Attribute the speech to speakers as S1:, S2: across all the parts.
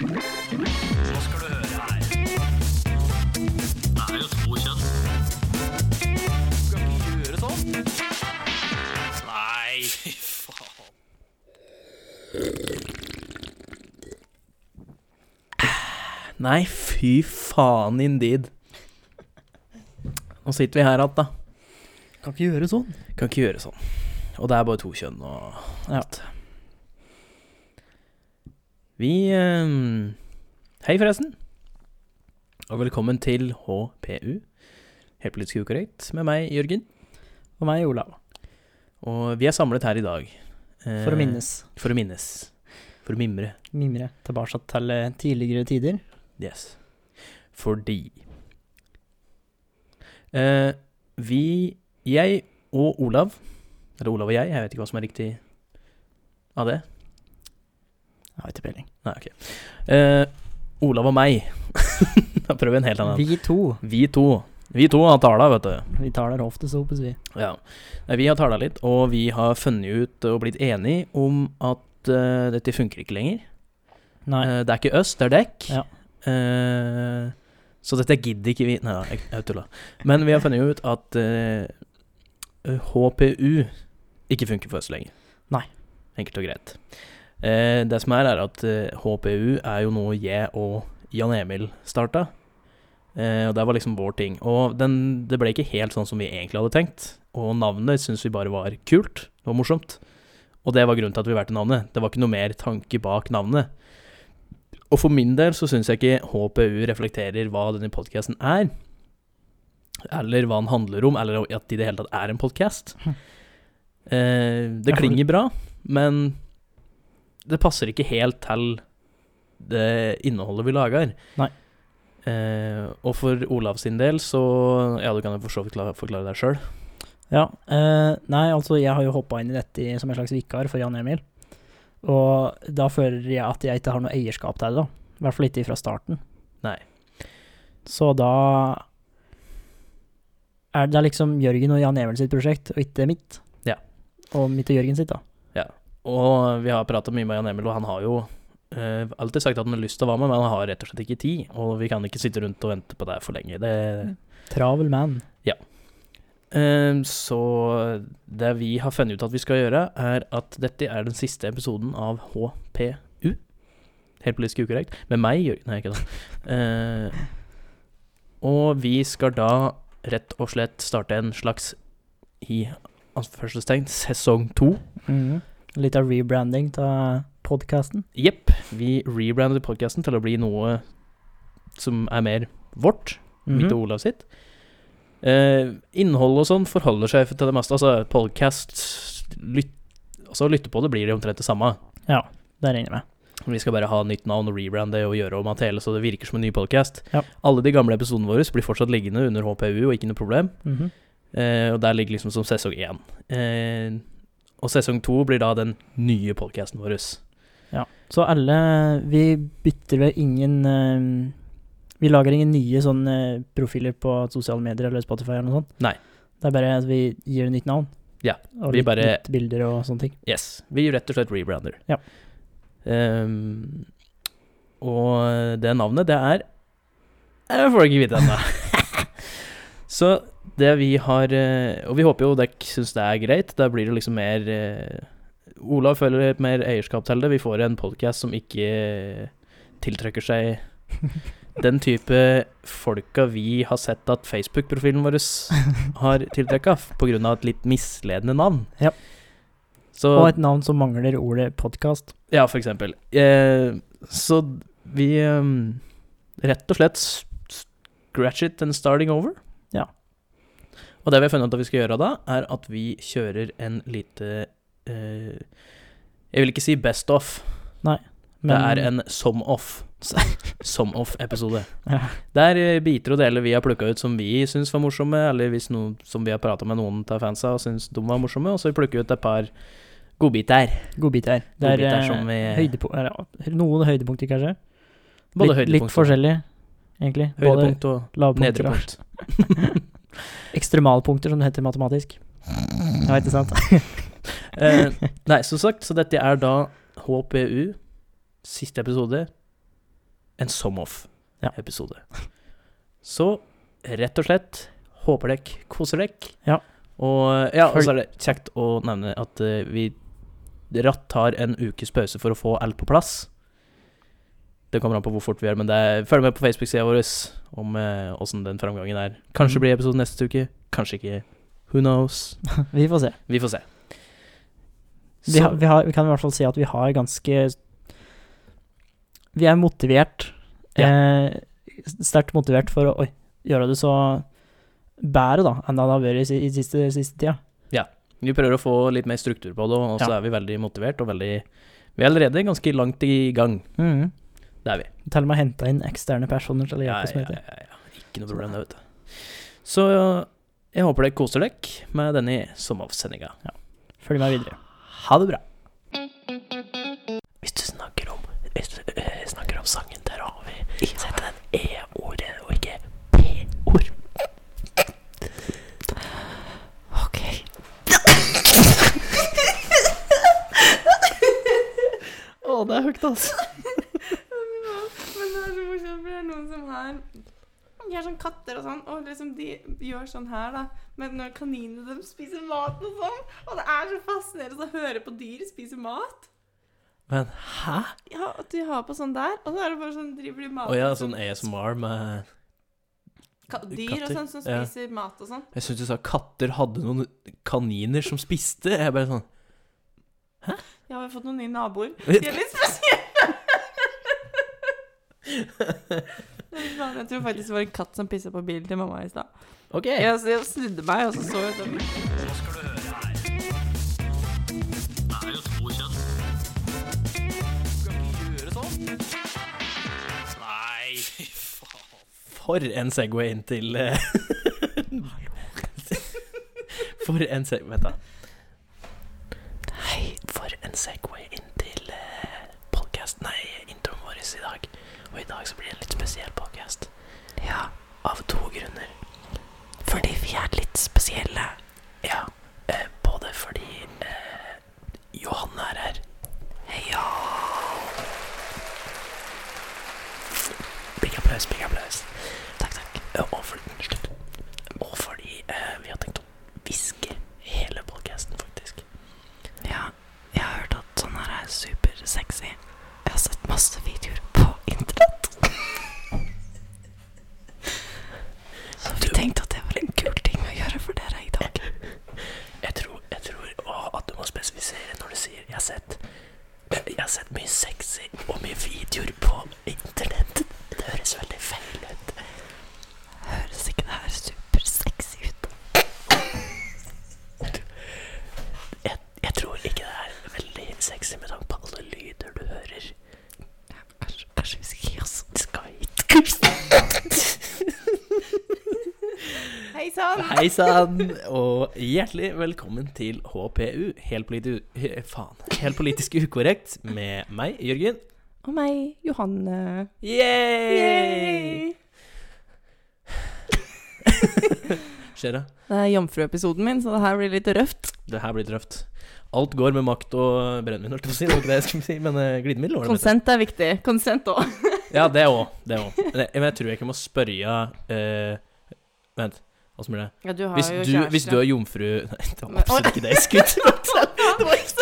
S1: Nå skal du høre her. Det er jo to kjønn. Skal ikke gjøre sånn. Nei, fy faen.
S2: Nei, fy faen indeed. Nå sitter vi her igjen, da.
S3: Kan ikke gjøre sånn.
S2: Kan ikke gjøre sånn. Og det er bare to kjønn og alt. Vi eh, Hei, forresten. Og velkommen til HPU, Helt politisk ukorrekt, med meg, Jørgen.
S3: Og meg, Olav.
S2: Og vi er samlet her i dag. eh,
S3: For å minnes.
S2: For å minnes. For å mimre.
S3: Mimre tilbake til eh, tidligere tider.
S2: Yes. Fordi eh, Vi Jeg og Olav Eller Olav og jeg, jeg vet ikke hva som er riktig av det.
S3: Jeg har ikke peiling.
S2: Nei, ok. Eh, Olav og meg. da prøver vi en helt annen.
S3: Vi to.
S2: Vi to. Vi to har tala, vet du.
S3: Vi tar der ofte så oppes vi.
S2: Ja. Nei, Vi har tala litt, og vi har funnet ut og blitt enige om at eh, dette funker ikke lenger.
S3: Nei.
S2: Eh, det er ikke øst, det er dekk.
S3: Ja.
S2: Eh, så dette gidder ikke vi Nei da, jeg, jeg tulla. Men vi har funnet ut at eh, HPU ikke funker for oss lenger.
S3: Nei.
S2: Enkelt og greit. Eh, det som er, er at eh, HPU er jo noe jeg og Jan Emil starta. Eh, og det var liksom vår ting. Og den, det ble ikke helt sånn som vi egentlig hadde tenkt. Og navnet syns vi bare var kult. Det var morsomt. Og det var grunnen til at vi valgte navnet. Det var ikke noe mer tanke bak navnet. Og for min del så syns jeg ikke HPU reflekterer hva denne podkasten er, eller hva den handler om, eller at det i det hele tatt er en podkast. Eh, det
S3: Ja, for-
S2: klinger bra, men det passer ikke helt til det innholdet vi lager.
S3: Nei.
S2: Eh, og for Olav sin del så Ja, du kan jo for så vidt kla- forklare deg sjøl.
S3: Ja. eh, nei, altså, jeg har jo hoppa inn i dette i- som en slags vikar for Jan Emil. Og da føler jeg at jeg ikke har noe eierskap til det, da. I hvert fall ikke fra starten.
S2: Nei.
S3: Så da er det liksom Jørgen og Jan Emil sitt prosjekt, og ikke mitt.
S2: Ja.
S3: Og mitt og Jørgen sitt, da.
S2: Og vi har prata mye med Jan Emil, og han har jo eh, alltid sagt at han har lyst til å være med, men han har rett og slett ikke tid. Og vi kan ikke sitte rundt og vente på det for lenge. Det,
S3: Travel man.
S2: Eh, så det vi har funnet ut at vi skal gjøre, er at dette er den siste episoden av HPU. Helt politisk ukorrekt. Med meg, Jørgen. Nei, ikke da. Eh, og vi skal da rett og slett starte en slags i anførselstegn sesong to.
S3: Mhm. Litt av rebranding av podkasten.
S2: Jepp. Vi rebrander podkasten til å bli noe som er mer vårt.
S3: Mhm.
S2: mitt og Olav sitt. Eh, innhold og sånn forholder seg til det meste. Altså, podcast lytt, Altså, å lytte på det blir det omtrent det samme.
S3: Ja, det regner jeg med.
S2: Vi skal bare ha nytt navn og rebrande og gjøre om at hele så det virker som en ny podcast.
S3: Ja.
S2: Alle de gamle episodene våre blir fortsatt liggende under HPU og ikke noe problem. Eh, og der ligger liksom som sesong én. Eh, og sesong to blir da den nye podcasten vår.
S3: Så alle Vi bytter vel ingen eh, Vi lager ingen nye sånne eh, profiler på sosiale medier eller Spotify eller noe sånt.
S2: Nei.
S3: Det er bare at vi gir det nytt navn.
S2: Ja,
S3: Og
S2: vi
S3: litt,
S2: bare-
S3: nytt bilder og sånne ting.
S2: Yes. Vi rett og slett rebrander.
S3: Ja.
S2: Ehm, og det navnet, det er Jeg får ikke vite ennå. Så det vi har eh, Og vi håper jo dere syns det er greit. Da blir det liksom mer eh, Olav føler mer eierskap til det. Vi får en podkast som ikke tiltrekker seg den type folka vi har sett at Facebook-profilen vår har tiltrekka, pga. et litt misledende navn.
S3: Ja.
S2: Så
S3: Og et navn som mangler ordet podkast.
S2: ja, for eksempel. Eh, så vi eh, rett og slett s- scratch it and starting over.
S3: Ja.
S2: Og det vi har funnet ut at vi skal gjøre da, er at vi kjører en lite eh, Jeg vil ikke si best off, det er en som off. Som off-episode.
S3: Ja.
S2: Det er eh, biter og deler vi har plukka ut som vi syns var morsomme, eller hvis noen som vi har prata med noen av fansa og syns de var morsomme, og så plukker vi ut et par godbiter.
S3: godbit her. Det er
S2: godbit her
S3: eh,
S2: som vi-
S3: høydepu- eller, ja, noen høydepunkter, kanskje.
S2: Både
S3: litt, litt
S2: høydepunkt og-
S3: forskjellig, egentlig. Både
S2: høydepunkt og
S3: lavpunkter og
S2: nedrepunkt.
S3: ekstremalpunkter, som det heter matematisk. Jeg vet det sant.
S2: Eh, nei, som sagt, så dette er da HPU, siste episode, en some-off-episode. Så rett og slett håper dere koser dere.
S3: Ja.
S2: Og ja, og
S3: Følg-
S2: så er det kjekt å nevne at eh, vi ratt tar en ukes pause for å få alt på plass. Det kommer an på hvor fort vi gjør, men det er, følg med på Facebook-sida vår om eh, åssen den framgangen er. Kanskje
S3: Mm.
S2: blir episode neste uke, kanskje ikke. Who knows?
S3: Vi får se.
S2: Vi får se.
S3: Vi,
S2: Så-
S3: har, vi, har, vi kan i hvert fall si at vi har ganske Vi er motivert. Eh, Sterkt motivert for å oi, gjøre det så bedre da, enn det har vært i, si- i siste, siste tida.
S2: Vi prøver å få litt mer struktur på det, og så
S3: Ja.
S2: er vi veldig motivert og veldig Vi er allerede ganske langt i gang.
S3: Mm.
S2: Det er vi.
S3: Til og med henta inn eksterne personer til å
S2: Ja,
S3: hjelpe oss
S2: ja,
S3: med det.
S2: ja, ja. Ikke noe problem, det, vet du. Så jeg håper dere koser dere med denne sommeravsendinga.
S3: Følg meg videre.
S2: Ha det bra. Hvis du snakker om hvis du, eh, snakker om sangen til Ravi, sett den E-ordet og ikke P-ord.
S3: Ok.
S2: Å, det er høyt, altså.
S4: Men det er så morsomt, for det er noen som her De er sånn katter og sånn, og liksom de gjør sånn her, da. Men når kaninene de spiser mat og sånn Og det er så fascinerende å høre på dyr spise mat.
S2: Men hæ?
S4: Ja, at de har på sånn der, og så er det bare sånn driver de
S2: Å
S4: mat
S2: ja,
S4: og
S2: sånn ASMR med
S4: ka- Dyr og
S2: katter,
S4: sånn som
S2: ja.
S4: spiser mat og sånn.
S2: Jeg syns du sa katter hadde noen kaniner som spiste. Jeg bare sånn
S4: Ja, vi har fått noen nye naboer. De er litt spesielle.
S2: sånn-
S4: Jeg tror faktisk det var en katt som pissa på bilen til mamma i stad.
S2: OK.
S4: Jeg, jeg snudde meg, og så så jeg sånn. utover.
S1: Nå skal du høre her. Det er jo to kjønn. Skal ikke gjøre sånn. Nei, fy faen.
S2: For en Segway inn til eh, For en Segway Vent, da. Hei, for en Segway inn til podkasten Nei, introen vår i dag. Og i dag så blir det en litt spesiell podkast. Ja. Av to grunner. Fordi vi er litt spesielle. Ja. eh, både fordi eh, Johan er her. Heia! Big applaus, big applaus. Takk, takk. Eh, Og fordi, slutt. Og fordi eh, vi har tenkt å hviske hele podcasten, faktisk. Ja, jeg har hørt at sånn her er supersexy. Jeg har sett masse videoer på internett. Så vi tenkte at det var en kul ting å gjøre for dere i dag. Jeg tror, jeg tror å, at du må spesifisere når du sier 'jeg har sett'. eh, Jeg har sett mye sexy og mye videoer på internett. Det høres veldig feil ut. Høres ikke det her supersexy ut? Jeg, jeg tror ikke det er veldig sexy med tanke på alle lyder du hører. Kanskje, vi skal gi oss? Skal vi
S4: Hei sann!
S2: Hei sann, og hjertelig velkommen til HPU, helt, politi he- faen, helt politisk ukorrekt, med meg, Jørgen.
S4: Og meg, Johanne.
S2: Yay!
S4: Yay!
S2: Skjer'a,
S4: Det er jomfruepisoden min, så det her blir litt røft.
S2: det her blir tøft. Alt går med makt og brennevin, holdt jeg på å si. Det var ikke det jeg skulle si, men eh, glidemiddel var det. vet du.
S4: Konsent er viktig. Konsent òg.
S2: Ja, det òg. Det òg. Men jeg- men jeg tror jeg ikke må spørre eh, Vent, åssen blir det?
S4: Ja, du har
S2: Hvis
S4: jo
S2: du,
S4: kjæreste.
S2: hvis du er jomfru Nei, det var
S4: Men-
S2: absolutt ikke det jeg skulle til å si.
S4: Det var ikke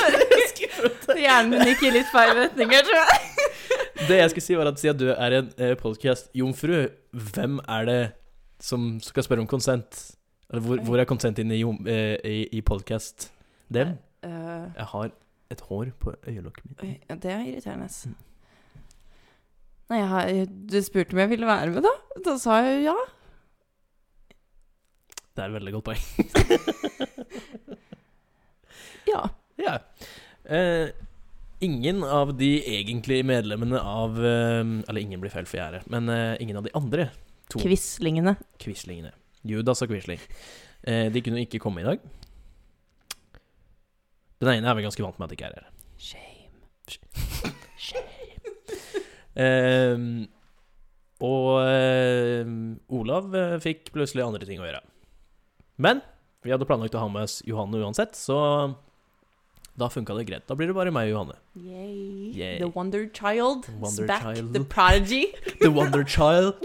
S4: Hjernen min gikk i litt feil retning, jeg tror jeg.
S2: Det jeg skulle si, var at siden du er en eh, podcast-jomfru, hvem er det som skal spørre om konsent? Eller hvor, hvor er konsent inne i, jom- eh, i, i podcast? Dem?
S4: Eh,
S2: Jeg har et hår på øyelokket mitt.
S4: oi, det er irriterende. ass.
S2: Mm.
S4: Nei, jeg har, du spurte om jeg ville være med, da. Da sa jeg jo ja.
S2: Det er et veldig godt poeng.
S4: Ja.
S2: Ja. Eh, ingen av de egentlige medlemmene av eh, Eller ingen blir feil, for jeg er her. Men eh, ingen av de andre To.
S4: Quislingene.
S2: quislingene, Judas og Quisling, eh, de kunne ikke komme i dag. Den ene er vel ganske vant med at de ikke er her.
S4: Shame.
S2: Eh, og eh, Olav eh, fikk plutselig andre ting å gjøre. Men vi hadde planlagt å ha med oss Johanne uansett, så Da funka det greit. Da blir det bare meg og Johanne.
S4: Yay.
S2: Yay.
S4: The Wonder Child
S2: The
S4: is
S2: Wonder
S4: back.
S2: Child.
S4: The Prodigy.
S2: The Wonder Child.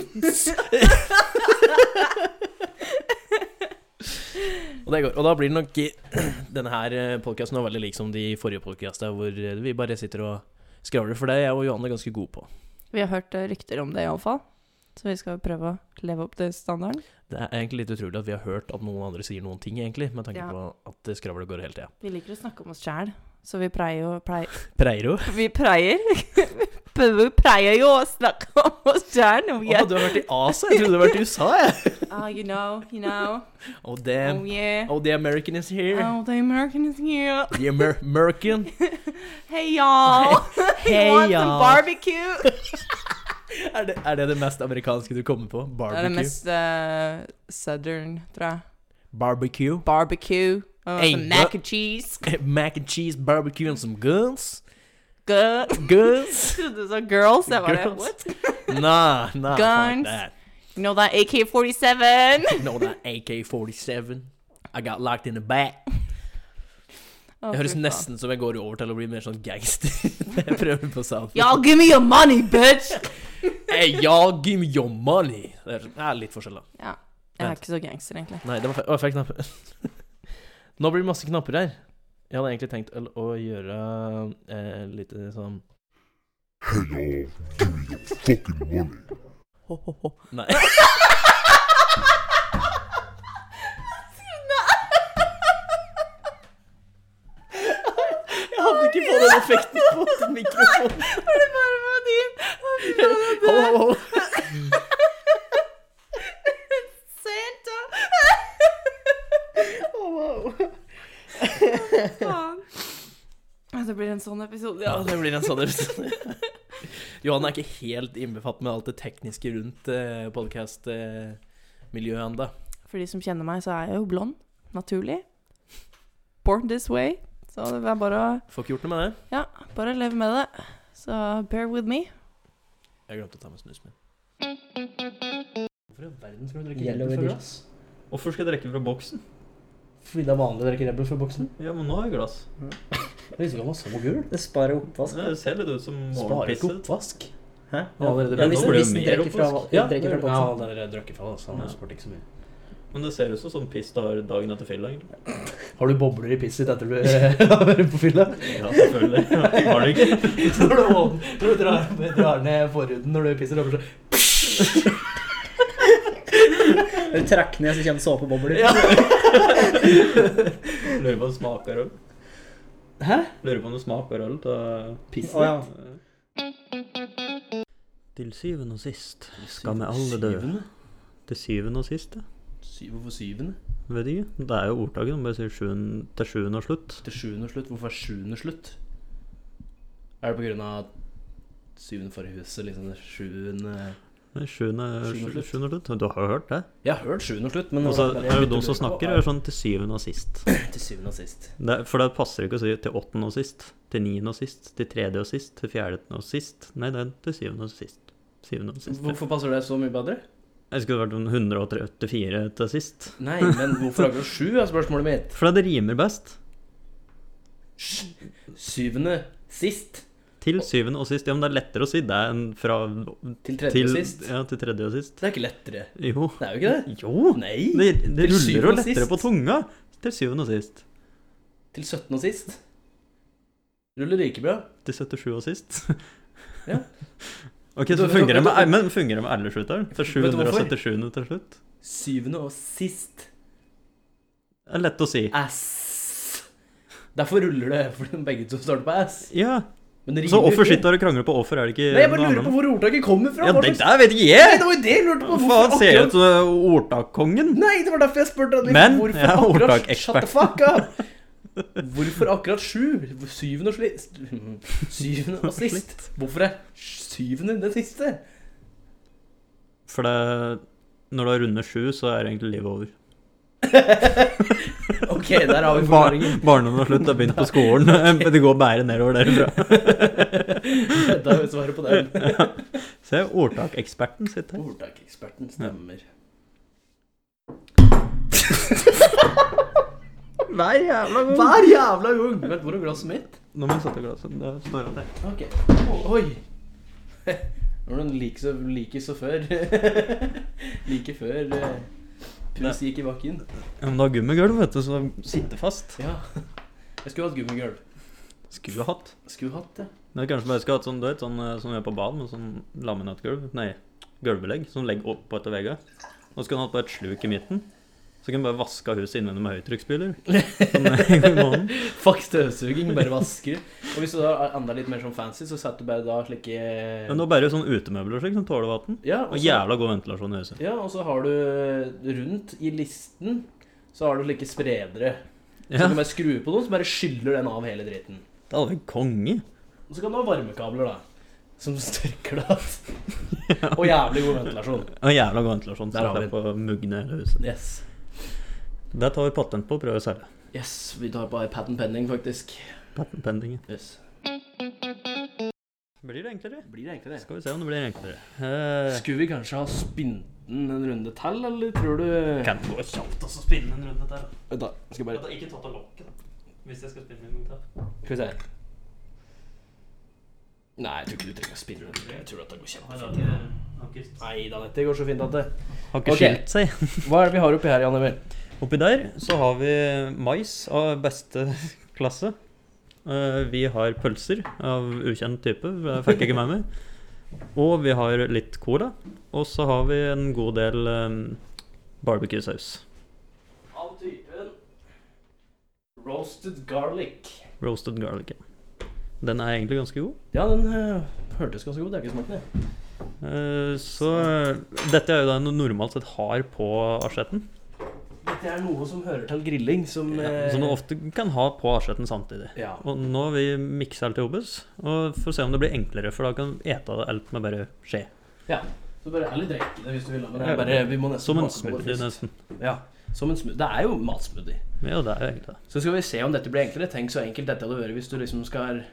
S2: og det går. Og da blir det nok i Denne her podkasten veldig lik som de forrige podkastene, hvor eh, vi bare sitter og skravler. For det er jeg og Johanne ganske gode på.
S4: Vi har hørt eh, rykter om det iallfall, så vi skal prøve å leve opp til standarden.
S2: Det er egentlig litt utrolig at vi har hørt at noen andre sier noen ting, egentlig, med tanke
S4: Ja.
S2: på at det skravlet går hele tida.
S4: Vi liker å snakke om oss sjæl, så vi pleier jo pleier,
S2: Preiro.
S4: Vi pleier Vi pleier jo å snakke om oss sjæl når vi
S2: Å,
S4: er
S2: du har vært i Asia? Jeg trodde du har vært i USA, jeg.
S4: Ah, you know, you know.
S2: Oh,
S4: Oh
S2: damn.
S4: yeah.
S2: Oh, the American is here.
S4: Oh, the American is here.
S2: The Amer American.
S4: Hey y'all.
S2: Hey,
S4: you want some
S2: y'all.
S4: barbecue?
S2: Er det, er det det mest amerikanske du kommer på?
S4: Det er det
S2: Barbecue.
S4: mest eh, southern, tror jeg.
S2: Barbecue.
S4: Barbecue. Og
S2: Hey,
S4: Uh, some mac and cheese.
S2: Mac and cheese, barbecue and some guns.
S4: Good.
S2: Guns.
S4: Trodde du sa girls. Jeg bare
S2: Girls.
S4: What?
S2: Nah, nah.
S4: Guns.
S2: Fuck that.
S4: You know that AK-47?
S2: No, that AK-47. I got locked in the back. Det
S4: Å, fy
S2: høres
S4: faen.
S2: nesten som jeg går over til å bli mer sånn gangster. jeg prøver på sound.
S4: Y'all give me your money, bitch!
S2: Hey, y'all, give me your money. Det er, det er litt forskjell, da.
S4: Ja. Jeg er
S2: Vent.
S4: ikke så gangster, egentlig.
S2: Nei, det var feil. Å, jeg fikk knappe. Nå blir det masse knapper her. Jeg hadde egentlig tenkt å- å gjøre eh, litt sånn
S5: Hey y'all, give me your fucking money.
S2: ho, ho, ho. Nei. Jeg hadde ikke fått den effekten på mikrofonen.
S4: Var det bare på din? Å, fy faen, jeg dør.
S2: Ho, ho, ho.
S4: Santa! Faen. Ja, Det blir en sånn episode,
S2: Ja,
S4: ja.
S2: det blir en sånn episode. Johan er ikke helt innbefatt med alt det tekniske rundt eh, podkast-miljøet ennå.
S4: For de som kjenner meg, så er jeg jo blond. Naturlig. Born this way. Så det er bare å
S2: Får ikke gjort noe med det.
S4: Ja, bare leve med det. Så bear with me.
S2: Jeg glemte å ta med snusen min. Hvorfor i all verden skal du
S6: Yellow
S2: Red Bull
S6: Edition.
S2: glass?
S6: Hvorfor skal jeg drikke fra boksen?
S2: Fordi det er vanlig å drikke Red Bull fra boksen?
S6: Ja, men nå har jeg glass.
S2: Jeg visste ikke han var så gul.
S6: Det sparer oppvask. Det ser litt ut som
S2: Sparer ikke
S6: morgenpisset.
S2: oppvask.
S6: Hæ?
S2: Ja, allerede
S6: Ja,
S2: bra. Nå
S6: hvis den-
S2: blir
S6: hvis
S2: det
S6: den
S2: mer
S6: drikker fra,
S2: oppvask.
S6: ja, drikker fra
S2: Ja,
S6: boksen.
S2: han har drukket fra oss. altså. Han
S6: Ja.
S2: spurte ikke så mye.
S6: Men det ser ut som sånn piss du har dagen etter fylla. egentlig.
S2: Har du bobler i pisset etter du har vært på fylla?
S6: Ja, selvfølgelig. Har du ikke?
S2: Når du, åpner- når du drar, drar ned forhuden når du pisser, og bare så sånn-
S6: Du trekker ned, så kommer såpebobler.
S2: Ja.
S6: Lurer på om det smaker øl.
S2: Hæ?
S6: Lurer på om det smaker øl til
S2: Pisset?
S6: Til syvende og sist
S2: skal vi alle dø. Syvende?
S6: Til syvende og sist, ja.
S2: Syv- Hvorfor syvende?
S6: Vet ikke. Det er jo ordtaket. De bare sier sjuende, til sjuende og slutt.
S2: Til sjuende slutt? Hvorfor er sjuende slutt? Er det på grunn av syvende forrige huset, liksom det sjuende
S6: Nei, Sjuende
S2: Sjuende og
S6: sju-
S2: slutt.
S6: sjuende og slutt. Du har jo hørt det?
S2: Jeg har hørt sjuende slutt, men
S6: Og så
S2: det
S6: er det de som snakker, er sånn til syvende og sist.
S2: Til syvende og sist.
S6: Det, for det passer ikke å si til åttende og sist, til niende og sist, til tredje og sist, til fjerde og sist. Nei, det er til syvende og sist. Syvende og sist. ja.
S2: Hvorfor passer det så mye bedre?
S6: Jeg skulle vært om 184 til sist.
S2: Nei, men hvorfor akkurat sju, er spørsmålet mitt.
S6: For det rimer best.
S2: Syvende sist
S6: Til syvende og sist. Ja, men det er lettere å si det enn fra
S2: til tredje
S6: til,
S2: og sist.
S6: Ja, til tredje og sist.
S2: Det er ikke lettere.
S6: Jo.
S2: Det er jo ikke det.
S6: Jo!
S2: Nei.
S6: Det, det
S2: Til syvende
S6: ruller jo
S2: og
S6: lettere
S2: sist.
S6: på tunga. Til syvende og sist.
S2: Til 17 og sist. Ruller like bra.
S6: Til 77 og sist.
S2: Ja.
S6: Ok,
S2: Vet du-
S6: så fungerer det
S2: vet du-
S6: med, men fungerer det med alle slutteren? Til
S2: Vet du hvorfor?
S6: 777 til slutt?
S2: Syvende og sist.
S6: Det er lett å si.
S2: Ass. Derfor ruller det, for de begge to starter på ass.
S6: Ja,
S2: Men det rimer
S6: Så
S2: jo
S6: hvorfor
S2: ikke.
S6: sitter dere og krangler på hvorfor? Er det ikke
S2: Nei, jeg bare
S6: noe
S2: lurer på
S6: annet?
S2: hvor ordtaket kommer fra.
S6: Ja,
S2: hva
S6: det
S2: slags-
S6: der vet ikke
S2: Nei,
S6: jeg!
S2: det var jo det jeg lurte på.
S6: Hva
S2: Hvorfor
S6: faen ser
S2: akkurat-
S6: ut som uh, ordtakkongen?
S2: Nei, det var derfor jeg spurte deg. liksom.
S6: Men,
S2: hvorfor
S6: jeg er
S2: akkurat-
S6: ordtakekspert.
S2: Shut the fuck up! Hvorfor akkurat sju? Syvende og sist. Syvende og sist. Hvorfor er syvende det siste?
S6: For det, når du har rundet sju, så er egentlig livet over.
S2: Ok, der har vi
S6: Bar
S2: forklaringen.
S6: Barndommen har slutt, jeg har begynt på skolen. men Det går bare nedover derfra.
S2: Da er jo svaret på den.
S6: Se, ordtakeksperten sitter her.
S2: Ordtakeksperten stemmer.
S6: Hver jævla gang.
S2: Hver jævla gang! Vent, hvor er glasset mitt?
S6: Nå må jeg sette glasset. Det er snarere det.
S2: Ok. Oi! Når den like så, like så før Like før eh, pus gikk i bakken.
S6: Ja, men det har gummigulv, vet du, så det sitter fast.
S2: Ja. Jeg skulle hatt gummigulv.
S6: Skulle hatt.
S2: Skulle hatt det.
S6: Men kanskje bare skal ha et sånn, du vet, sånn eh, som vi gjør på banen, med sånn laminatgulv, nei, gulvbelegg, som legger opp på etter veggene. Og så kan du ha bare et sluk i midten. Så kan du bare vaske huset innvendig med høytrykksspyler. Sånn en gang i måneden.
S2: Fuck støvsuging, bare vaske. Og hvis du da er enda litt mer sånn fancy, så setter du bare da slike
S6: Men nå bare sånn utemøbler og slik, som tåler vann.
S2: Ja, og
S6: Og
S2: så,
S6: jævla god ventilasjon i huset.
S2: ja, og så har du rundt i listen så har du slike spredere. Så
S6: Ja,
S2: kan du bare skru på noen, så bare skyller den av hele driten.
S6: det hadde vært konge.
S2: Og så kan du ha varmekabler, da. Som størker deg igjen. Og jævlig god ventilasjon.
S6: Og jævla god ventilasjon,
S2: Der
S6: så
S2: har vi
S6: det er på å mugne hele huset.
S2: Yes.
S6: Det tar vi patent på og prøver å selge.
S2: yes. Vi tar på iPaden pending, faktisk.
S6: Patent pending.
S2: Yes.
S6: Blir det enklere?
S2: Blir det egentlig det?
S6: Skal vi se om det blir enklere. Eh,
S2: Skulle vi kanskje ha spint den en runde til, eller tror du
S6: kan gå sånn? kjapt og så spinne en runde der.
S2: Vent, da. Skal bare
S6: Ikke tatt av lokket, da. Hvis jeg skal spinne en gang til.
S2: Skal vi se. Nei, jeg tror ikke du trenger å spinne den. Jeg tror at det går kjempefint.
S6: Har
S2: Nei da, dette går så fint at det
S6: ikke
S2: Ok.
S6: skilt seg.
S2: Hva er det vi har oppi her, Jan Emil?
S6: Oppi der så har vi mais av beste klasse. Eh, Vi har pølser av ukjent type, det fikk jeg ikke med meg. Og vi har litt cola. Og så har vi en god del eh, barbecue-saus.
S2: Av typen roasted garlic.
S6: Roasted garlic. ja. Den er egentlig ganske god.
S2: Ja, den eh, hørtes ganske god ut. Jeg har ikke smakt den. jeg.
S6: Eh, Så dette er jo det en normalt sett har på asjetten.
S2: Dette er noe som hører til grilling, som eh,
S6: Som du ofte kan ha på asjetten samtidig.
S2: Ja.
S6: Og nå har vi miksa alt i hobus, og får se om det blir enklere, for da kan vi ete alt med bare skje.
S2: Så bare heller drikke det hvis du vil. da, Men det er bare, vi må nesten
S6: Som en
S2: bake på det
S6: smoothie,
S2: først.
S6: nesten.
S2: Ja, som en smoothie. Det er jo matsmoothie.
S6: Ja, det er jo egentlig det.
S2: Så skal vi se om dette blir enklere. Tenk så enkelt dette hadde vært hvis du liksom skal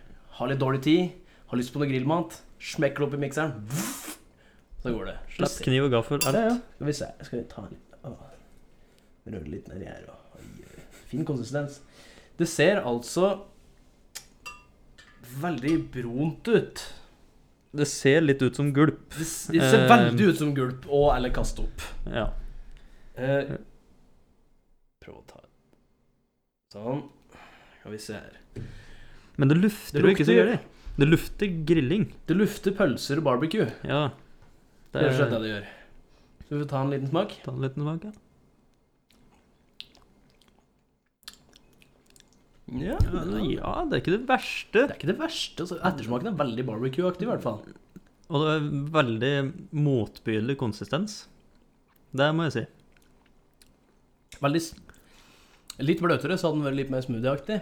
S2: ha litt dårlig tid, har lyst på noe grillmat, smekker det opp i mikseren, Vuff! så går det.
S6: Slipp kniv og gaffel, alt.
S2: Ja, ja. Skal vi se. Skal vi ta en liten Åh. Røre litt nedi her. og- Oi, oi. Fin konsistens. Det ser altså veldig brunt ut.
S6: Det ser litt ut som gulp.
S2: Det s- det ser
S6: Eh,
S2: veldig ut som gulp og eller kast opp.
S6: Ja.
S2: Eh, prøv å ta Sånn. Skal vi se her.
S6: Men det lufter jo ikke så gøy. Det lufter grilling.
S2: Det lufter pølser og barbecue.
S6: Ja.
S2: Det er rett og slett det det gjør. Skal vi ta en liten smak?
S6: Ta en liten smak, ja.
S2: Ja,
S6: Ja, det er ikke det verste.
S2: Det er ikke det verste. Altså. Ettersmaken er veldig barbecue-aktig, i hvert fall.
S6: Og det er veldig motbydelig konsistens. Det må jeg si.
S2: Veldig s- Litt bløtere, så hadde den vært litt mer smoothie-aktig.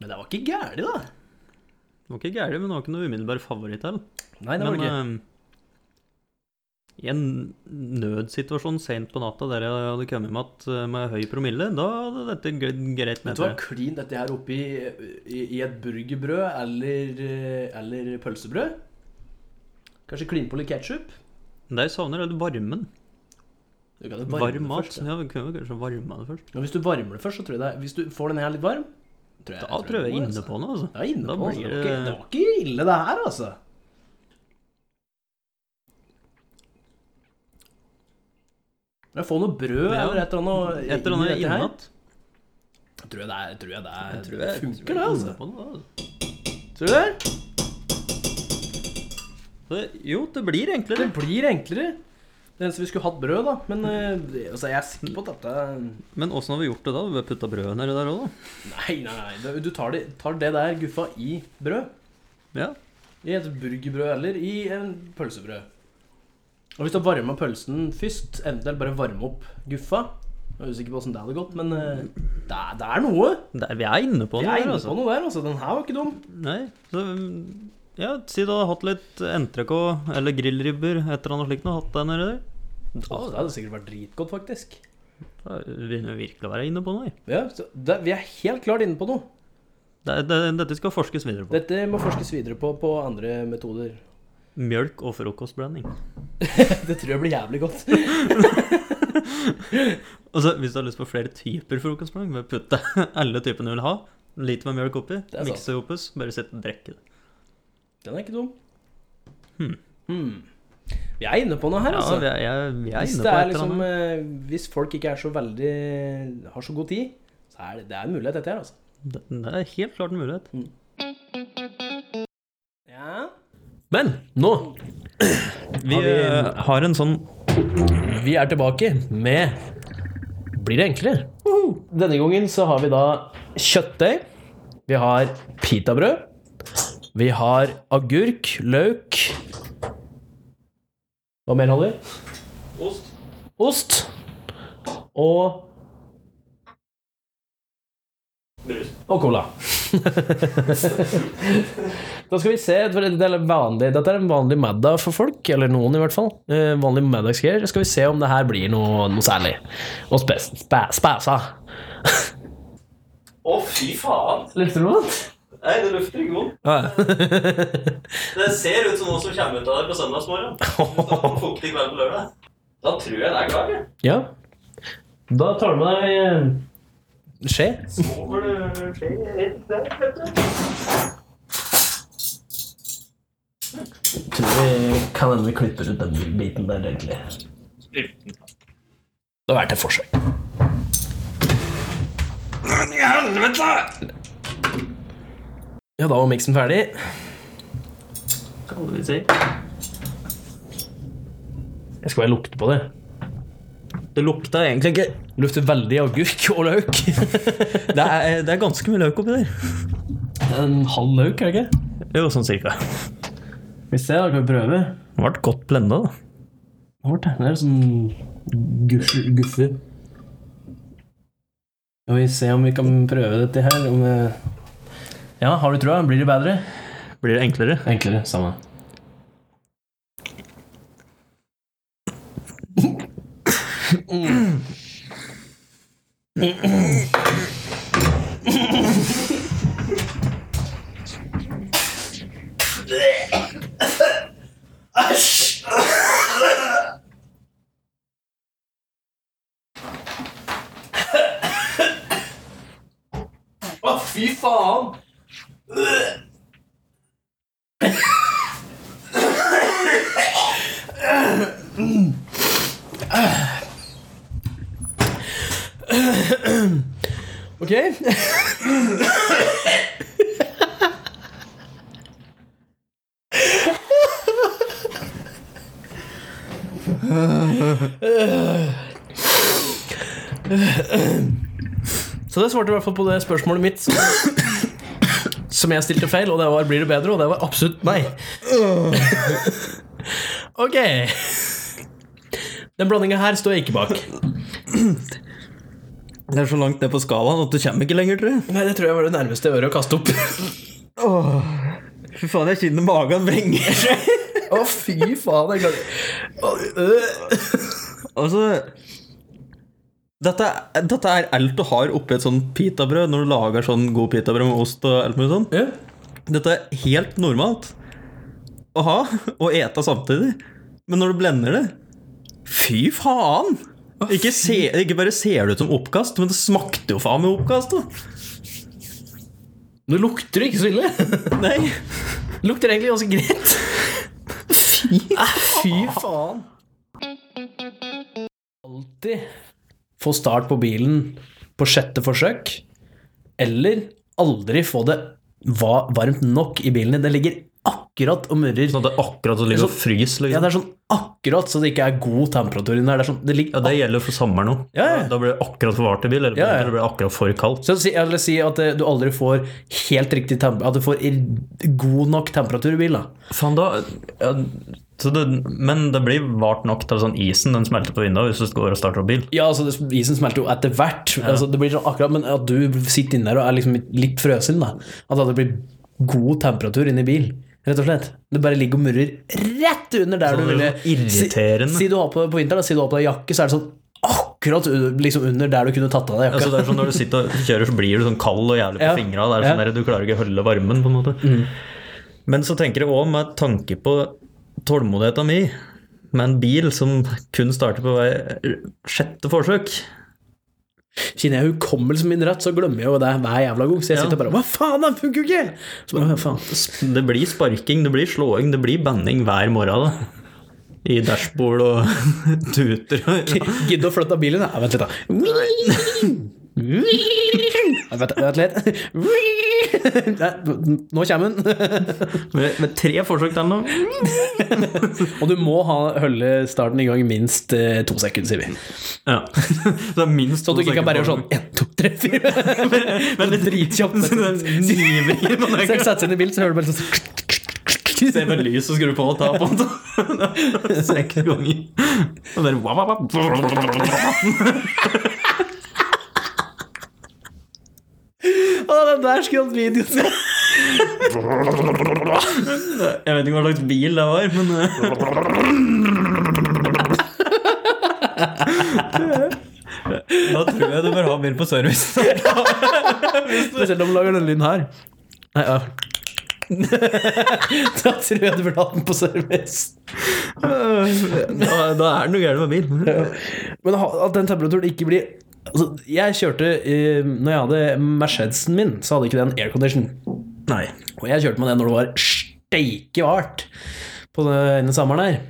S2: Men det var ikke gærent, da.
S6: Det var ikke gærent, men det var ikke noe umiddelbar favoritt heller.
S2: Nei, det var det ikke.
S6: Men eh, i en nødsituasjon sent på natta der jeg hadde kommet med, at, eh, med høy promille, da hadde dette glidd greit
S2: Vet
S6: ned
S2: du hva,
S6: til.
S2: klin dette her oppi i, i et burgerbrød eller, eh, eller pølsebrød. Kanskje kline på litt ketsjup.
S6: Det jeg savner, er litt varmen.
S2: Du kan jo varme det
S6: Varm mat.
S2: først, da.
S6: Ja, vi kunne jo kanskje varme det først.
S2: Men hvis du varmer det først, så tror jeg det er- Hvis du får den her litt varm tror
S6: Da tror jeg vi
S2: går,
S6: er inne
S2: altså.
S6: på noe, altså.
S2: Det er inne
S6: Da
S2: på, altså.
S6: blir
S2: Det var
S6: det-
S2: ikke- Det var ikke ille, det her, altså. Men få noe brød
S6: Ja.
S2: eller et eller annet
S6: Et
S2: inn i
S6: eller annet
S2: dette her.
S6: innmat.
S2: Tror jeg det, er, tror jeg det, er,
S6: Jeg tror
S2: det
S6: jeg- jeg
S2: funker,
S6: tror
S2: det,
S6: jeg er
S2: altså.
S6: inne på noe, altså.
S2: Tror du det?
S6: Det- Jo, det blir
S2: Det
S6: enklere.
S2: blir enklere. Det eneste vi skulle hatt brød, da. Men eh, det- altså, jeg er sikker på at dette
S6: Men åssen har vi gjort det da? Vi har putta brødet nedi der òg, da.
S2: Nei, nei, nei. det- Du tar det, tar det der guffa i brød.
S6: Ja.
S2: I et burgerbrød eller i en pølsebrød. Og hvis du har varma pølsen først, eventuelt bare varme opp guffa Jeg er usikker på åssen det hadde gått, men eh, det er, det er noe.
S6: Der, vi er inne på
S2: Vi
S6: noe,
S2: er
S6: der,
S2: inne
S6: altså.
S2: på noe der, altså. Den her var ikke dum.
S6: Nei, så ja, si du hadde hatt litt entrecôte eller grillribber, et eller annet slikt, noe, hatt det nedi der.
S2: Å, det hadde sikkert vært dritgodt, faktisk.
S6: Da begynner vi virkelig å være inne på noe. her.
S2: Ja, så det, Vi er helt klart inne på noe.
S6: Det, det, dette skal forskes videre på.
S2: Dette må forskes videre på på andre metoder.
S6: Mjølk og frokostblanding.
S2: Det tror jeg blir jævlig godt.
S6: Og så Altså, hvis du har lyst på flere typer frokostblanding, bare putte alle typene du vil ha. Lite med mjølk oppi,
S7: er sant.
S6: mikse det opp, så bare sitte og drikke det.
S7: Den er ikke dum.
S6: Hmm.
S7: Hmm. Vi er inne på noe her,
S6: Ja,
S7: altså.
S6: vi er, jeg, vi er
S7: hvis,
S6: inne
S7: det
S6: på
S7: er
S6: et eller
S7: liksom,
S6: annet.
S7: eh, hvis folk ikke er så veldig har så god tid, så er det, det er en mulighet, dette her, altså.
S6: Det, det er helt klart en mulighet.
S7: Ja.
S6: Men nå Vi
S2: vi-
S6: eh, har en sånn
S2: Vi er tilbake med Blir det enklere?
S7: Denne gangen så har vi da
S2: Kjøttdeig. Vi har pitabrød. Vi har agurk, løk
S7: Hva mer holder?
S2: Ost. Og
S7: Og cola.
S2: da skal vi se for det er vanlig, Dette er en vanlig middag for folk, eller noen i hvert fall. Eh, vanlig middagsgreier. Skal vi se om det her blir noe, noe særlig. Og spes, spæ, spæsa.
S6: Å, fy faen!
S2: Lukter det noe?
S6: Nei, det lukter ikke vondt. Det ser ut som noe som kommer ut av deg på søndagsmorgen. Fuktig kveld på lørdag. Da tror jeg det er klart.
S2: Ja. Da tar du med deg eh, skje.
S6: Sover du skjer der, vet du.
S2: Tror vi kan hende vi klipper ut den biten der, egentlig. Det har vært et forsøk. Ja, da var miksen ferdig.
S6: Skal vi si.
S2: Jeg skal bare lukte på det.
S6: Det lukta egentlig ikke
S2: Lukter veldig agurk og løk.
S6: det er, Eh, det er ganske mye løk oppi der.
S2: En halv løk, er det ikke?
S6: Jo, sånn cirka.
S2: Vi ser, da kan vi prøve.
S6: Det ble godt blenda, da.
S2: Hårt, det er sånn guffe. guffe. Skal vi se om vi kan prøve dette her. Om eh, ja, har du trua? Blir det bedre?
S6: Blir det enklere?
S2: Enklere. Samme. Ok. Så det svarte i hvert fall på det spørsmålet mitt som, som jeg stilte feil, og det var 'blir det bedre?' og det var absolutt nei. Ok. Den blandinga her står jeg ikke bak.
S6: Det er så langt ned på skalaen at du kommer ikke lenger, tror jeg.
S2: Nei, Det tror jeg var det nærmeste jeg var å kaste opp.
S6: Fy faen, jeg kjenner magen vrenger seg.
S2: Å, fy faen. Jeg klarer
S6: Altså dette, dette er alt du har oppi et sånn pitabrød når du lager sånn god pitabrød med ost og alt mulig sånn.
S2: Ja.
S6: Dette er helt normalt å ha og ete samtidig. Men når du blender det Fy faen! Ikke, se, ikke bare ser det ut som oppkast, men det smakte jo faen meg oppkast. Da.
S2: Nå lukter det ikke så ille.
S6: Nei.
S2: Lukter egentlig ganske greit. Fy, fy faen. Alltid få start på bilen på sjette forsøk, eller aldri få det va varmt nok i bilen din. Det ligger akkurat og murrer.
S6: Sånn at det er akkurat som ligger og fryser.
S2: Ja,
S6: Liksom.
S2: det er sånn akkurat så det ikke er god temperatur inni der. Det er sånn, det ligger
S6: Ja, det gjelder for sommeren òg.
S2: Ja, ja.
S6: Da blir det akkurat for varmt i bil, eller
S2: Ja, ja.
S6: det blir akkurat for kaldt.
S2: Så si, eller si at eh, du aldri får helt riktig temp At du får i- god nok temperatur i bilen. da.
S6: Faen, da ja, så det, Men det blir vart nok til sånn isen den smelter på vinduet hvis du går og starter opp bil.
S2: Ja, altså, det- isen smelter jo etter hvert, altså, det blir sånn akkurat, men at du sitter inne der og er liksom litt frøsen, da. At det blir god temperatur inne i bil, rett og slett. Det bare ligger og murrer rett under der du
S6: det
S2: ville
S6: er Sånn irriterende.
S2: Si, si du har på, på vinteren, da, si du har på deg jakke, så er det sånn akkurat u- liksom under der du kunne tatt av deg jakka.
S6: Altså, det er sånn Når du sitter og kjører, så blir du sånn kald og jævlig på
S2: Ja.
S6: fingrene. Det er sånn
S2: Ja. Mm.
S6: der, du klarer ikke å holde varmen, på en måte. Men så tenker jeg òg, med tanke på tålmodigheta mi Med en bil som kun starter på hver sjette forsøk.
S2: Siden jeg har hukommelsen min rett, så glemmer jeg jo det hver jævla gang. Så jeg
S6: Ja.
S2: sitter bare Hva faen, det funker jo ikke! Så bare, hva faen.
S6: Det blir sparking, det blir slåing, det blir banning hver morgen. da. I dashbord og tuter. og-
S2: Gidde å flytte bilen? Nei, vent litt, da. Nei, Vent, vent litt. Nei, Nå kommer den.
S6: Med, med tre forsøk der nå.
S2: Og du må ha, holde starten i gang i minst eh, to sekunder, sier vi.
S6: Ja. Det er minst
S2: Så at du ikke kan bare gjøre sånn én, to, tre, fire.
S6: Men det er
S2: dritkjapt. Så jeg setter seg inn i bilen, så hører du bare sånn
S6: Se på lyset og skru på og ta på den. Seks ganger. Og bare wap, wap, wap.
S2: Å, den der skulle hatt video.
S6: Jeg vet ikke hva slags bil det var, men eh. Da tror jeg du bør ha bil på service.
S2: Spesielt om du lager den lyden her. Nei, ja. da tror jeg du burde hatt den på service.
S6: Da, da er det noe gærent med bil.
S2: Men ha- at den temperaturen ikke blir altså, Jeg kjørte eh, Når jeg hadde Mercedesen min, så hadde ikke den aircondition.
S6: Nei.
S2: Og jeg kjørte med den når det var steike vart på den ene sommeren her.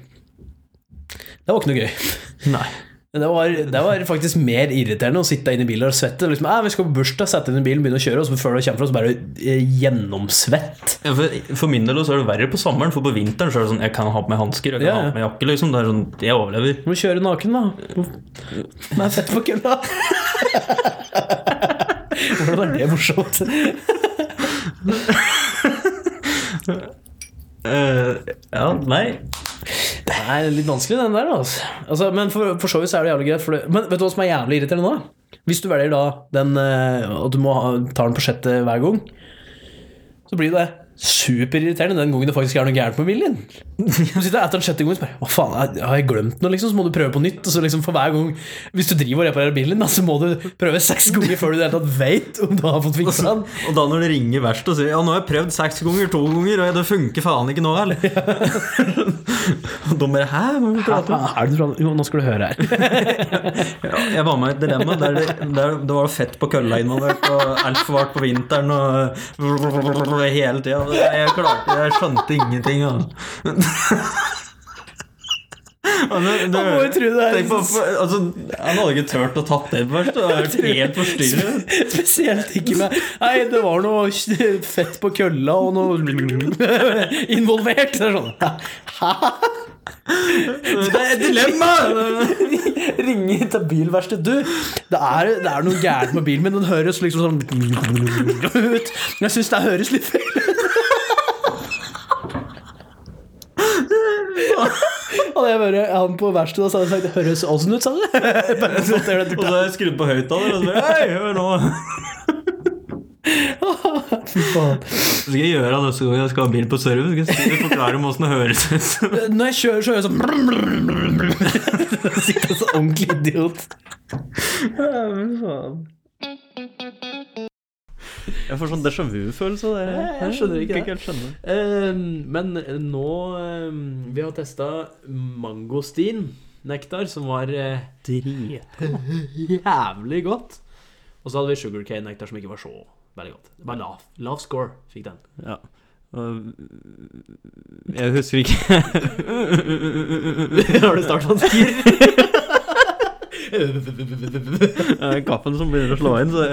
S2: Det var ikke noe gøy.
S6: Nei.
S2: Det var, det var faktisk mer irriterende å sitte inne i bilen og svette. Liksom, «Ah, vi skal på bursdag, sette inn i bilen, begynne å kjøre, og så før du kommer fra, så bare eh, gjennomsvett.
S6: Ja, for, for min del også er det verre på sommeren, for på vinteren så er det sånn Jeg kan ha på meg hansker, jeg kan
S2: Ja, ja.
S6: ha på meg jakke, liksom. Det er sånn, Jeg overlever.
S2: Du må kjøre naken, da. Nei, fett på kølla. Hvordan er det morsomt?
S6: Eh, ja, nei.
S2: Det er litt vanskelig, den der. Altså. Altså, men for, for så vidt så er det jævlig greit. For det, men vet du hva som er jævlig irriterende nå? Hvis du velger da den eh, at du må ha, ta den på sjette hver gang, så blir det superirriterende den gangen det faktisk er noe gærent med bilen din. Du sitter etter den sjette gangen og spør hva faen, har- har jeg glemt noe, liksom? Så må du prøve på nytt. Og så liksom for hver gang, hvis du driver og reparerer bilen din, da, så må du prøve seks ganger før du i det hele tatt veit om du har fått fiksa den.
S6: Og da når det ringer verst og sier Ja, nå har jeg prøvd seks ganger, to ganger, og det funker faen ikke nå, eller? og de bare Hæ? Hva er det
S2: Hva
S6: du prater om?
S2: er det du prater om? Jo, nå skal du høre her.
S6: Ja, jeg var med i et dilemma der det, der det var fett på kølla involvert, og alt for varmt på vinteren og hele tida. Jeg klarte Jeg skjønte ingenting. Altså. Og det- det-
S2: må jo tro det er-
S6: tenk på- for- altså, Han hadde ikke turt å tatt det først. Det hadde vært helt forstyrret.
S2: Spesielt ikke med Nei, det var noe fett på kølla og noe involvert. Det er sånn Hæ?
S6: Det er et dilemma!
S2: Ringe til bilverkstedet. Du, det er, det er noe gærent med bilen min. Den høres liksom sånn ut. Men jeg syns det høres litt feil ut. Hadde jeg vært han på verkstedet, så hadde jeg sagt Det høres åssen ut, sa du? Bare sånn at det
S6: Og
S2: ble-
S6: så har jeg skrudd på høyttaler, og så bare Hei, hør nå!
S2: Fy faen.
S6: Så skal jeg gjøre det neste gang jeg skal ha bil på service. Skal jeg forklare om åssen det høres ut.
S2: Når jeg kjører, så hører jeg sånn brum, brum, brum, brum. Sitter jeg som ordentlig idiot.
S6: Jeg får sånn déjà vu-følelse av det.
S2: Jeg skjønner ikke det.
S6: helt skjønne.
S8: Ehm, men nå eh, Vi har testa mangostin-nektar, som var eh, jævlig godt. Og så hadde vi sugarcane-nektar, som ikke var så veldig godt. Det var lav, lav score fikk den.
S6: Ja. Og- eh, Jeg husker ikke Har du starta en skir? Kaffen som begynner å slå inn, så det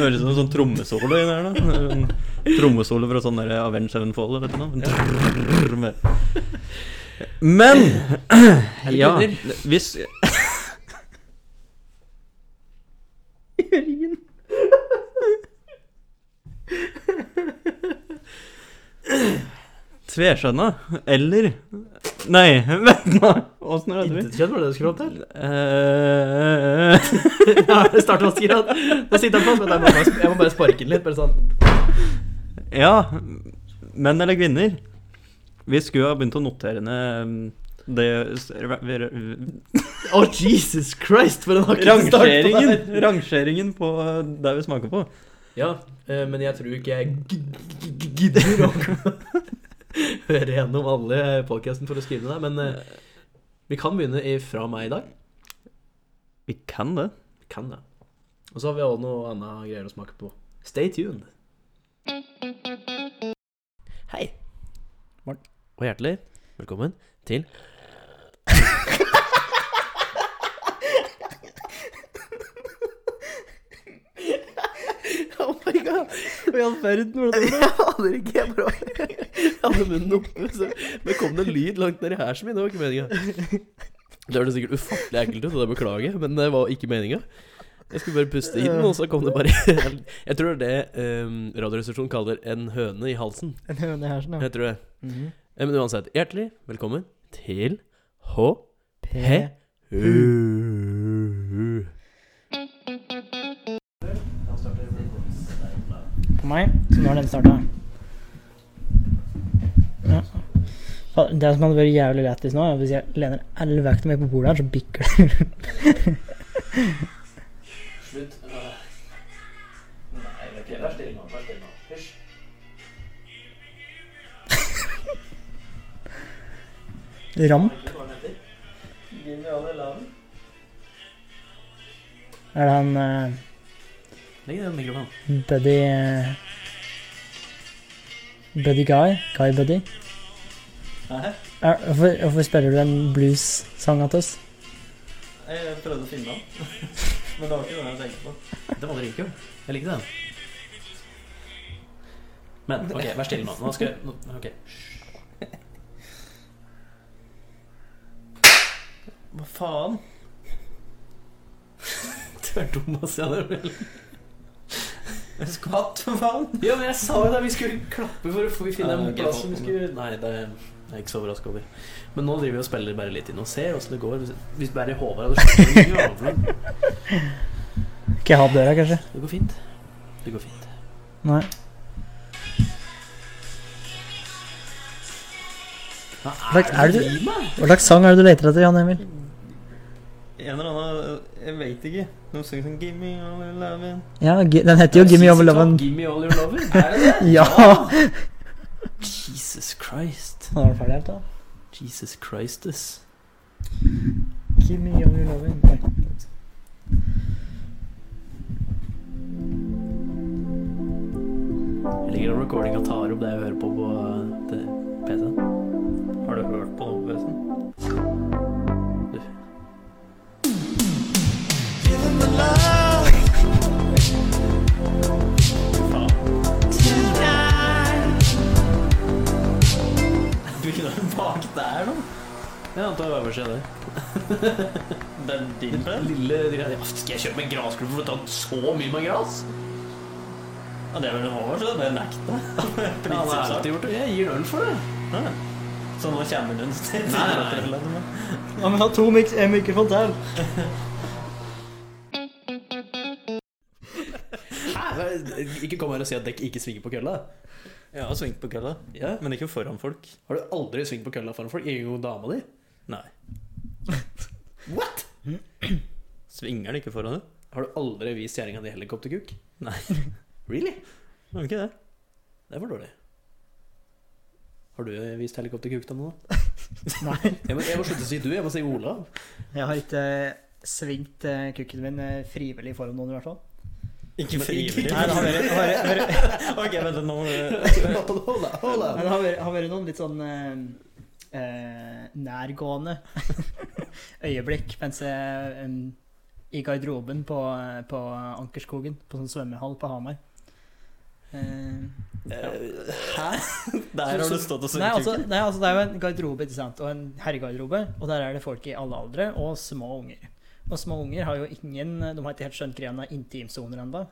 S6: høres ut som en sånn trommesolo i der. da En Trommesolo fra sånn der Avenge Sevenfold eller noe. Men Ja, hvis Tveskjønna eller Nei, vent nå! Åssen er det?
S8: Intetskjent var det du skulle opp til?
S6: Eh,
S8: Startvasker, han. Da sitter han fast, men jeg må bare- jeg må bare sparke den litt. Bare sånn
S6: Ja, menn eller kvinner? Vi skulle ha begynt å notere ned um, det
S8: Å, Jesus Christ, for en hakket start! på det her.
S6: Rangeringen! Rangeringen på det vi smaker på.
S8: Ja, eh, men jeg tror ikke jeg g- g- g- gidder å høre gjennom alle podkasten for å skrive det der, men eh,
S9: Vi kan begynne i- fra meg i dag.
S6: Vi kan det.
S9: Vi Kan det. Og så har vi også noe annet greier å smake på. Stay tuned.
S2: Hei.
S3: Morten.
S2: Og hjertelig velkommen til Oh my god. Hva i all verden var det? Jeg aner ikke. Jeg bare Jeg hadde munnen oppe, så det kom det en lyd langt nedi her som min. Det var ikke meninga. Det hørtes sikkert ufattelig ekkelt ut, og det beklager jeg, men det var ikke meninga. Jeg skulle bare puste inn, og så kom det bare Jeg tror det er det um, Radioresepsjonen kaller en høne i halsen.
S3: En høne i hersen, ja.
S2: Jeg tror det.
S3: Mhm.
S2: Eh, Men uansett, hjertelig velkommen til HPU.
S3: P. på meg, så nå har den starta. Ja. Fa- Det som hadde vært jævlig lættis nå, er hvis jeg lener all vekta mi på bordet her, så bikker det.
S2: Slutt. Nei, det er ikke Vær stille nå. Vær stille nå. Hysj.
S3: Ramp. Er det han eh,
S2: Legg ned mikrofonen.
S3: Buddy eh, Buddy Guy? Guy Buddy?
S6: Hæ?
S3: Er, hvorfor, hvorfor spiller du en blues-sang til oss?
S6: Jeg prøvde å finne den, men det var ikke den jeg tenkte på.
S2: Den var dritkul. Jeg likte den. Men OK, vær stille nå. Nå skal jeg nå, OK.
S6: Hva faen?
S2: Du er dum, ass. Ja, det er vel-
S6: Jeg skvatt, for faen!
S2: ja, men jeg sa jo det. Vi skulle klappe for å få- vi finne
S6: Ja,
S2: en
S6: ok,
S2: plass som vi
S6: faen.
S2: skulle Nei, det er jeg er ikke så overraska over. Men nå driver vi og spiller bare litt inn og ser åssen det går. Hvis- Hvis bare Håvard hadde slått en jævla
S3: Ikke jeg ha opp døra, kanskje?
S2: Det går fint. Det går fint.
S3: Nei.
S2: Hva
S3: Hva er det du-
S2: du driver med?
S3: Hva slags sang er det du leter etter, Jan Emil?
S6: En eller annen eh, Jeg vet ikke. Noen synger sånn Give me all your lovin'.
S3: Ja, gi- den heter jo 'Give me over loven'.
S2: Give me all your love. Er det det?
S3: Ja!
S2: Jesus Christ.
S3: Nå er den ferdig her, da.
S2: Jesus Christus.
S3: Give me all your loving. Nei.
S2: Jeg ligger og recordinga tar opp det jeg hører på på eh, til PC-en.
S6: Har du hørt på noe, forresten? Du kunne vært bak der nå.
S2: Jeg antar øverst er det.
S6: Den din
S2: Den
S6: ble.
S2: Lille greia. Ja, Skal jeg kjøpe en grasklubb for å ta så mye med gras?
S6: Ja, det er vel en Håvard, så det er nekta.
S2: Ja, han har alltid gjort det. Jeg gir den øl for det.
S6: Så nå kommer den sted.
S2: Nei, nei,
S3: Ja, men ha to mik en mikrofon til.
S2: Hæ? Ikke kom her og si at dekk ikke svinger på kølla.
S6: Jeg har svingt på kølla,
S2: Ja.
S6: men ikke foran folk.
S2: Har du aldri svingt på kølla foran folk? Ingen god dama di?
S6: Nei.
S2: What?
S6: Svinger den ikke foran deg?
S2: Har du aldri vist kjerringa di helikopterkuk?
S6: Nei.
S2: Really?
S6: Har du ikke det?
S2: Det var dårlig. Har du vist helikopterkuk til noen? da?
S3: Nei,
S2: Jeg må, jeg må slutte å si du, jeg må si Olav.
S3: jeg har ikke svingt eh, kukken min eh, frivillig foran noen, i hvert fall.
S6: Ikke
S3: Nei,
S6: frivillig.
S3: det har vært, har vært, har vært,
S6: Ok, vent litt, nå må du
S2: Olav, Olav.
S3: men det har vært, har vært noen litt sånn eh, eh, nærgående øyeblikk mens jeg em, i garderoben på, eh, på Ankerskogen, på sånn svømmehall på Hamar. Eh,
S6: Hæ? Der har du stått
S3: nei,
S6: og sunget
S3: altså, nei, altså det er jo en garderobe ikke sant? og en herregarderobe, og der er det folk i alle aldre og små unger. Og små unger har jo ingen De har ikke helt skjønt greia med intimsoner ennå.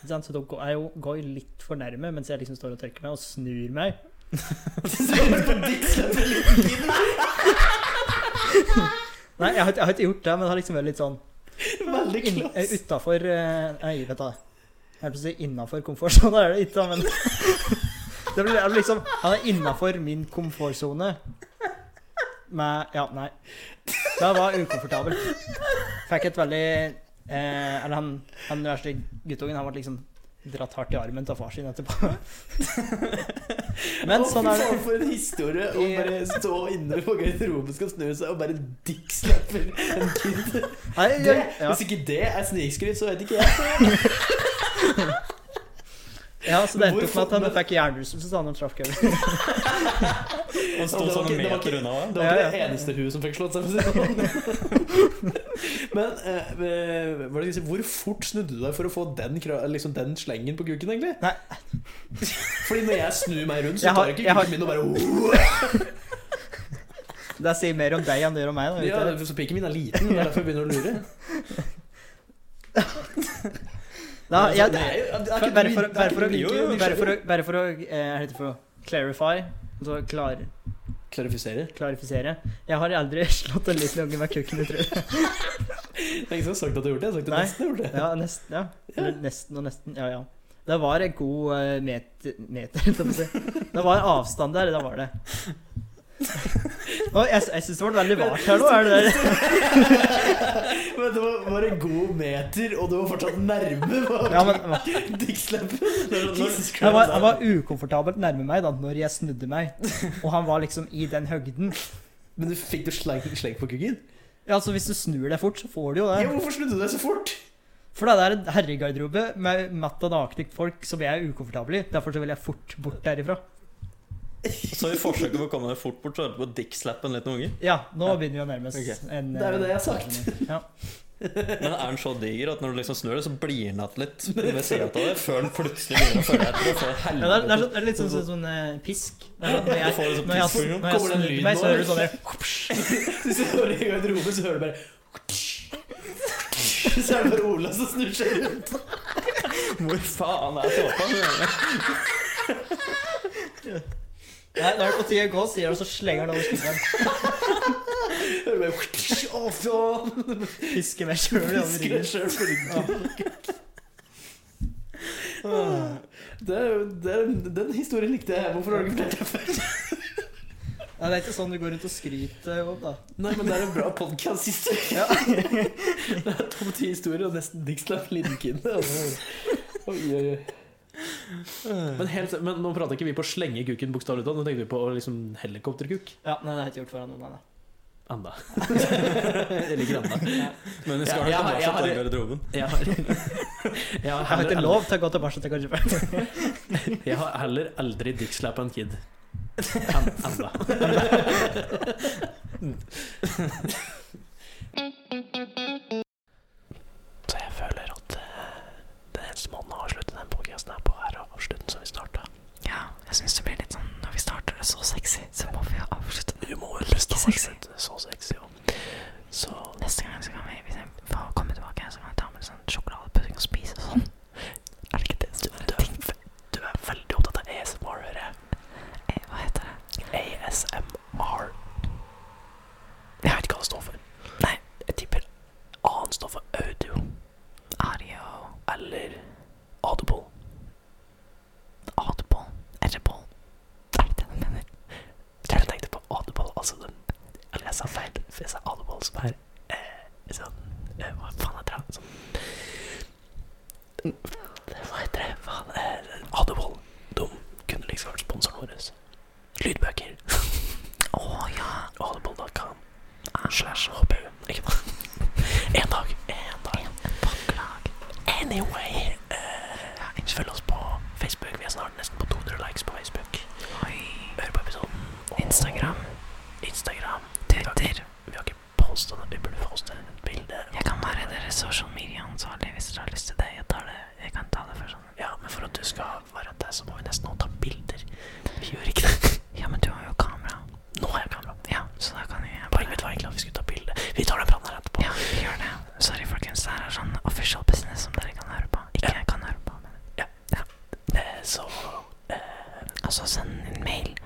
S3: Så de går- er jo, går jo litt for nærme mens jeg liksom står og tørker meg, og snur meg. Nei, jeg har, ikke- jeg har ikke gjort det, men det har liksom vært litt sånn Veldig klass. Utafor eh, Nei, vet du. Jeg holdt på å si innafor komfortsona, er det ikke, da, men Det blir er det liksom Han er innafor min komfortsone. Med Ja, nei. Det var ukomfortabelt. Fikk et veldig eh, Eller han, han verste guttungen, han ble liksom dratt hardt i armen til far sin etterpå. Men sånn er det.
S2: For en historie å bare stå inne på garderoben skal snu seg og bare dickslapper en kid.
S3: Nei,
S2: Det,
S3: jeg, ja.
S2: Hvis ikke det er snikskryt, så vet ikke jeg.
S3: ja, så det endte opp med at han fikk hjernerystelse da han traff Kevin.
S6: Han sto
S2: Ja, det var ikke-
S6: sånn en
S2: det var
S6: meter
S2: ikke-
S6: unna. hva?
S2: Det var
S3: Ja,
S2: ikke det eneste hun som fikk slått seg. for å si det sånn. Men eh, hva er det, jeg skulle si? hvor fort snudde du deg for å få den, kra- liksom, den slengen på kuken, egentlig?
S3: Nei.
S2: Fordi når jeg snur meg rundt, så
S3: Jeg har-
S2: tar ikke
S3: jeg har-
S2: kuken min og bare oh!
S3: Det sier mer om deg enn det gjør om meg. Da, vet
S2: ja,
S3: du.
S2: Så piken min er liten, det er derfor jeg begynner å lure.
S3: da, jeg,
S2: Altså, Nei, er ikke
S3: Bare
S2: du- er
S3: bare for,
S2: ikke
S3: bare for,
S2: du like
S3: å- bare for,
S2: nysgjerrig?
S3: å- bare for å eh, Hva heter det for å clarify? Altså klar,
S2: Klarifisere.
S3: klarifisere. Jeg har aldri slått en liten unge med kukken i trynet.
S2: Jeg har ikke sagt at du har gjort det, jeg har sagt at du
S3: Nei.
S2: nesten har gjort det.
S3: Ja, nesten, ja. Eller nesten og nesten. Ja, ja. Det var en god eh, meter, meter holdt jeg på å si. Det var avstand der, det var det. Og jeg jeg syns det ble veldig vart her nå. Er det der?
S2: Men det var bare en god meter, og du var fortsatt nærme.
S3: Ja, men,
S2: Jesus
S3: han, var, han var ukomfortabelt nærme meg da når jeg snudde meg, og han var liksom i den høgden.
S2: Men du fikk du sleng, sleng på kukken?
S3: Ja, altså Hvis du snur deg fort, så får du jo det.
S2: Ja, hvorfor snudde du deg så fort?
S3: For det er en herregarderobe med matt og nakne folk som jeg er ukomfortabel i. Derfor så vil jeg fort bort derifra.
S6: Så i forsøket på å komme deg fort bort, så er det på å dickslappe en liten unge.
S3: Ja, nå begynner vi å nærme oss
S6: Ok.
S3: en
S2: Det er jo det jeg har sagt.
S3: eh, Ja.
S6: Men er han så diger at når du liksom snur deg, så blir han igjen litt ved siden av deg, før han plutselig begynner å følge etter og får
S3: Ja, det, er, det, er,
S6: helvete.
S3: sånn- det er litt sånn, sånn, sånn eh, pisk. Det er sånn, når jeg,
S6: Du får liksom
S3: når jeg,
S6: pisk,
S3: når jeg
S2: kommer det en lyd
S3: snur
S2: nå,
S3: meg, så hører du sånn
S2: eller?
S3: der
S2: Du står i garderoben, så hører du bare Så er det bare Ola som snur seg rundt.
S6: Hvor faen er såpa?
S3: Nei, når tida går, sier du, så slenger han over skulderen.
S2: Hører du bare Å, faen!
S3: Pisker meg sjøl over
S2: Husker jeg
S3: ryggen.
S2: selv for ryggen. Det er jo- det er- Den historien likte jeg. Hvorfor har du ikke fortalt det før?
S3: Nei, det er ikke sånn du går rundt og skryter opp, da.
S2: Nei, men det er en bra podkast-historie. det er topp ti historier og nesten Dixlap Lindkinde. Altså. Oi, oi, oi. Men, helt, men nå prater ikke vi på å slenge kuken bokstavelig talt, nå tenker vi på liksom helikopterkuk.
S3: Ja, nei, det har jeg ikke gjort foran noen, nei.
S2: Enda. Eller granda.
S6: Men
S2: Ja,
S6: vi skal
S2: jeg
S6: ja,
S2: har- jeg
S6: tilbake
S2: har-
S6: til garderoben.
S2: Jeg har, jeg, har
S3: Jeg har
S2: heller,
S3: ikke lov til å gå tilbake til garderoben.
S2: aldri- jeg har heller aldri dickslappa en kid. En, enda.
S10: Så jeg føler at eh, det eneste måten å avslutte den podcasten her på, er å avslutte den som vi starta.
S11: Ja, jeg syns det blir litt sånn Når vi starter det så sexy, så må vi avslutte
S10: Vi må jo
S11: Ikke sexy.
S10: avslutte så sexy, jo. Så
S11: neste gang. Så kan vi, hvis jeg får komme tilbake, så kan jeg ta med sånn sjokoladepudding og spise og sånn. Er det ikke det som er ting?
S10: du er veldig opptatt av ASMR, hører jeg.
S11: Eh, Hva heter det?
S10: ASMR. Jeg vet ikke hva det står for. Nei, jeg tipper A-en står for audio
S11: Ario
S10: eller audible.
S11: Audible Edible. Er det det du mener?
S10: Jeg tenkte på audible, altså den Eller jeg sa feil. For jeg sa audible, som er eh, sånn eh, Hva faen heter det? Sånn Hva heter det? Faen, eh, audible. De kunne liksom vært sponsoren vår. Lydbøker.
S11: Å ja.
S10: Oh, Audible.com. Slash HPU. Ikke da. En dag. En dag.
S11: Baklag.
S10: Anyway. eh, følg oss på Facebook. Vi er snart nesten på 200 likes på Facebook.
S11: Oi.
S10: Hør på episoden. Og
S11: Instagram.
S10: Instagram.
S11: Twitter.
S10: Vi har ikke postet noe. Vi burde poste et bilde.
S11: Jeg kan være dere sosiale medieansvarlig hvis dere har lyst til det. Jeg tar det. Jeg kan ta det for sånn.
S10: Ja, men for at du skal være der, så må vi nesten også ta bilder. Vi gjør ikke det.
S11: Ja, men du har jo kamera.
S10: Nå har jeg kamera.
S11: Ja, så da kan jo jeg
S10: Poenget mitt var egentlig at vi skulle ta bilde. Vi tar den praten her etterpå.
S11: Ja, vi gjør det. Sorry, folkens. Det her er sånn official business som dere kan høre på. Ikke jeg kan høre på, men
S10: Eh, Så
S11: Altså, send en mail Sånn
S10: sånn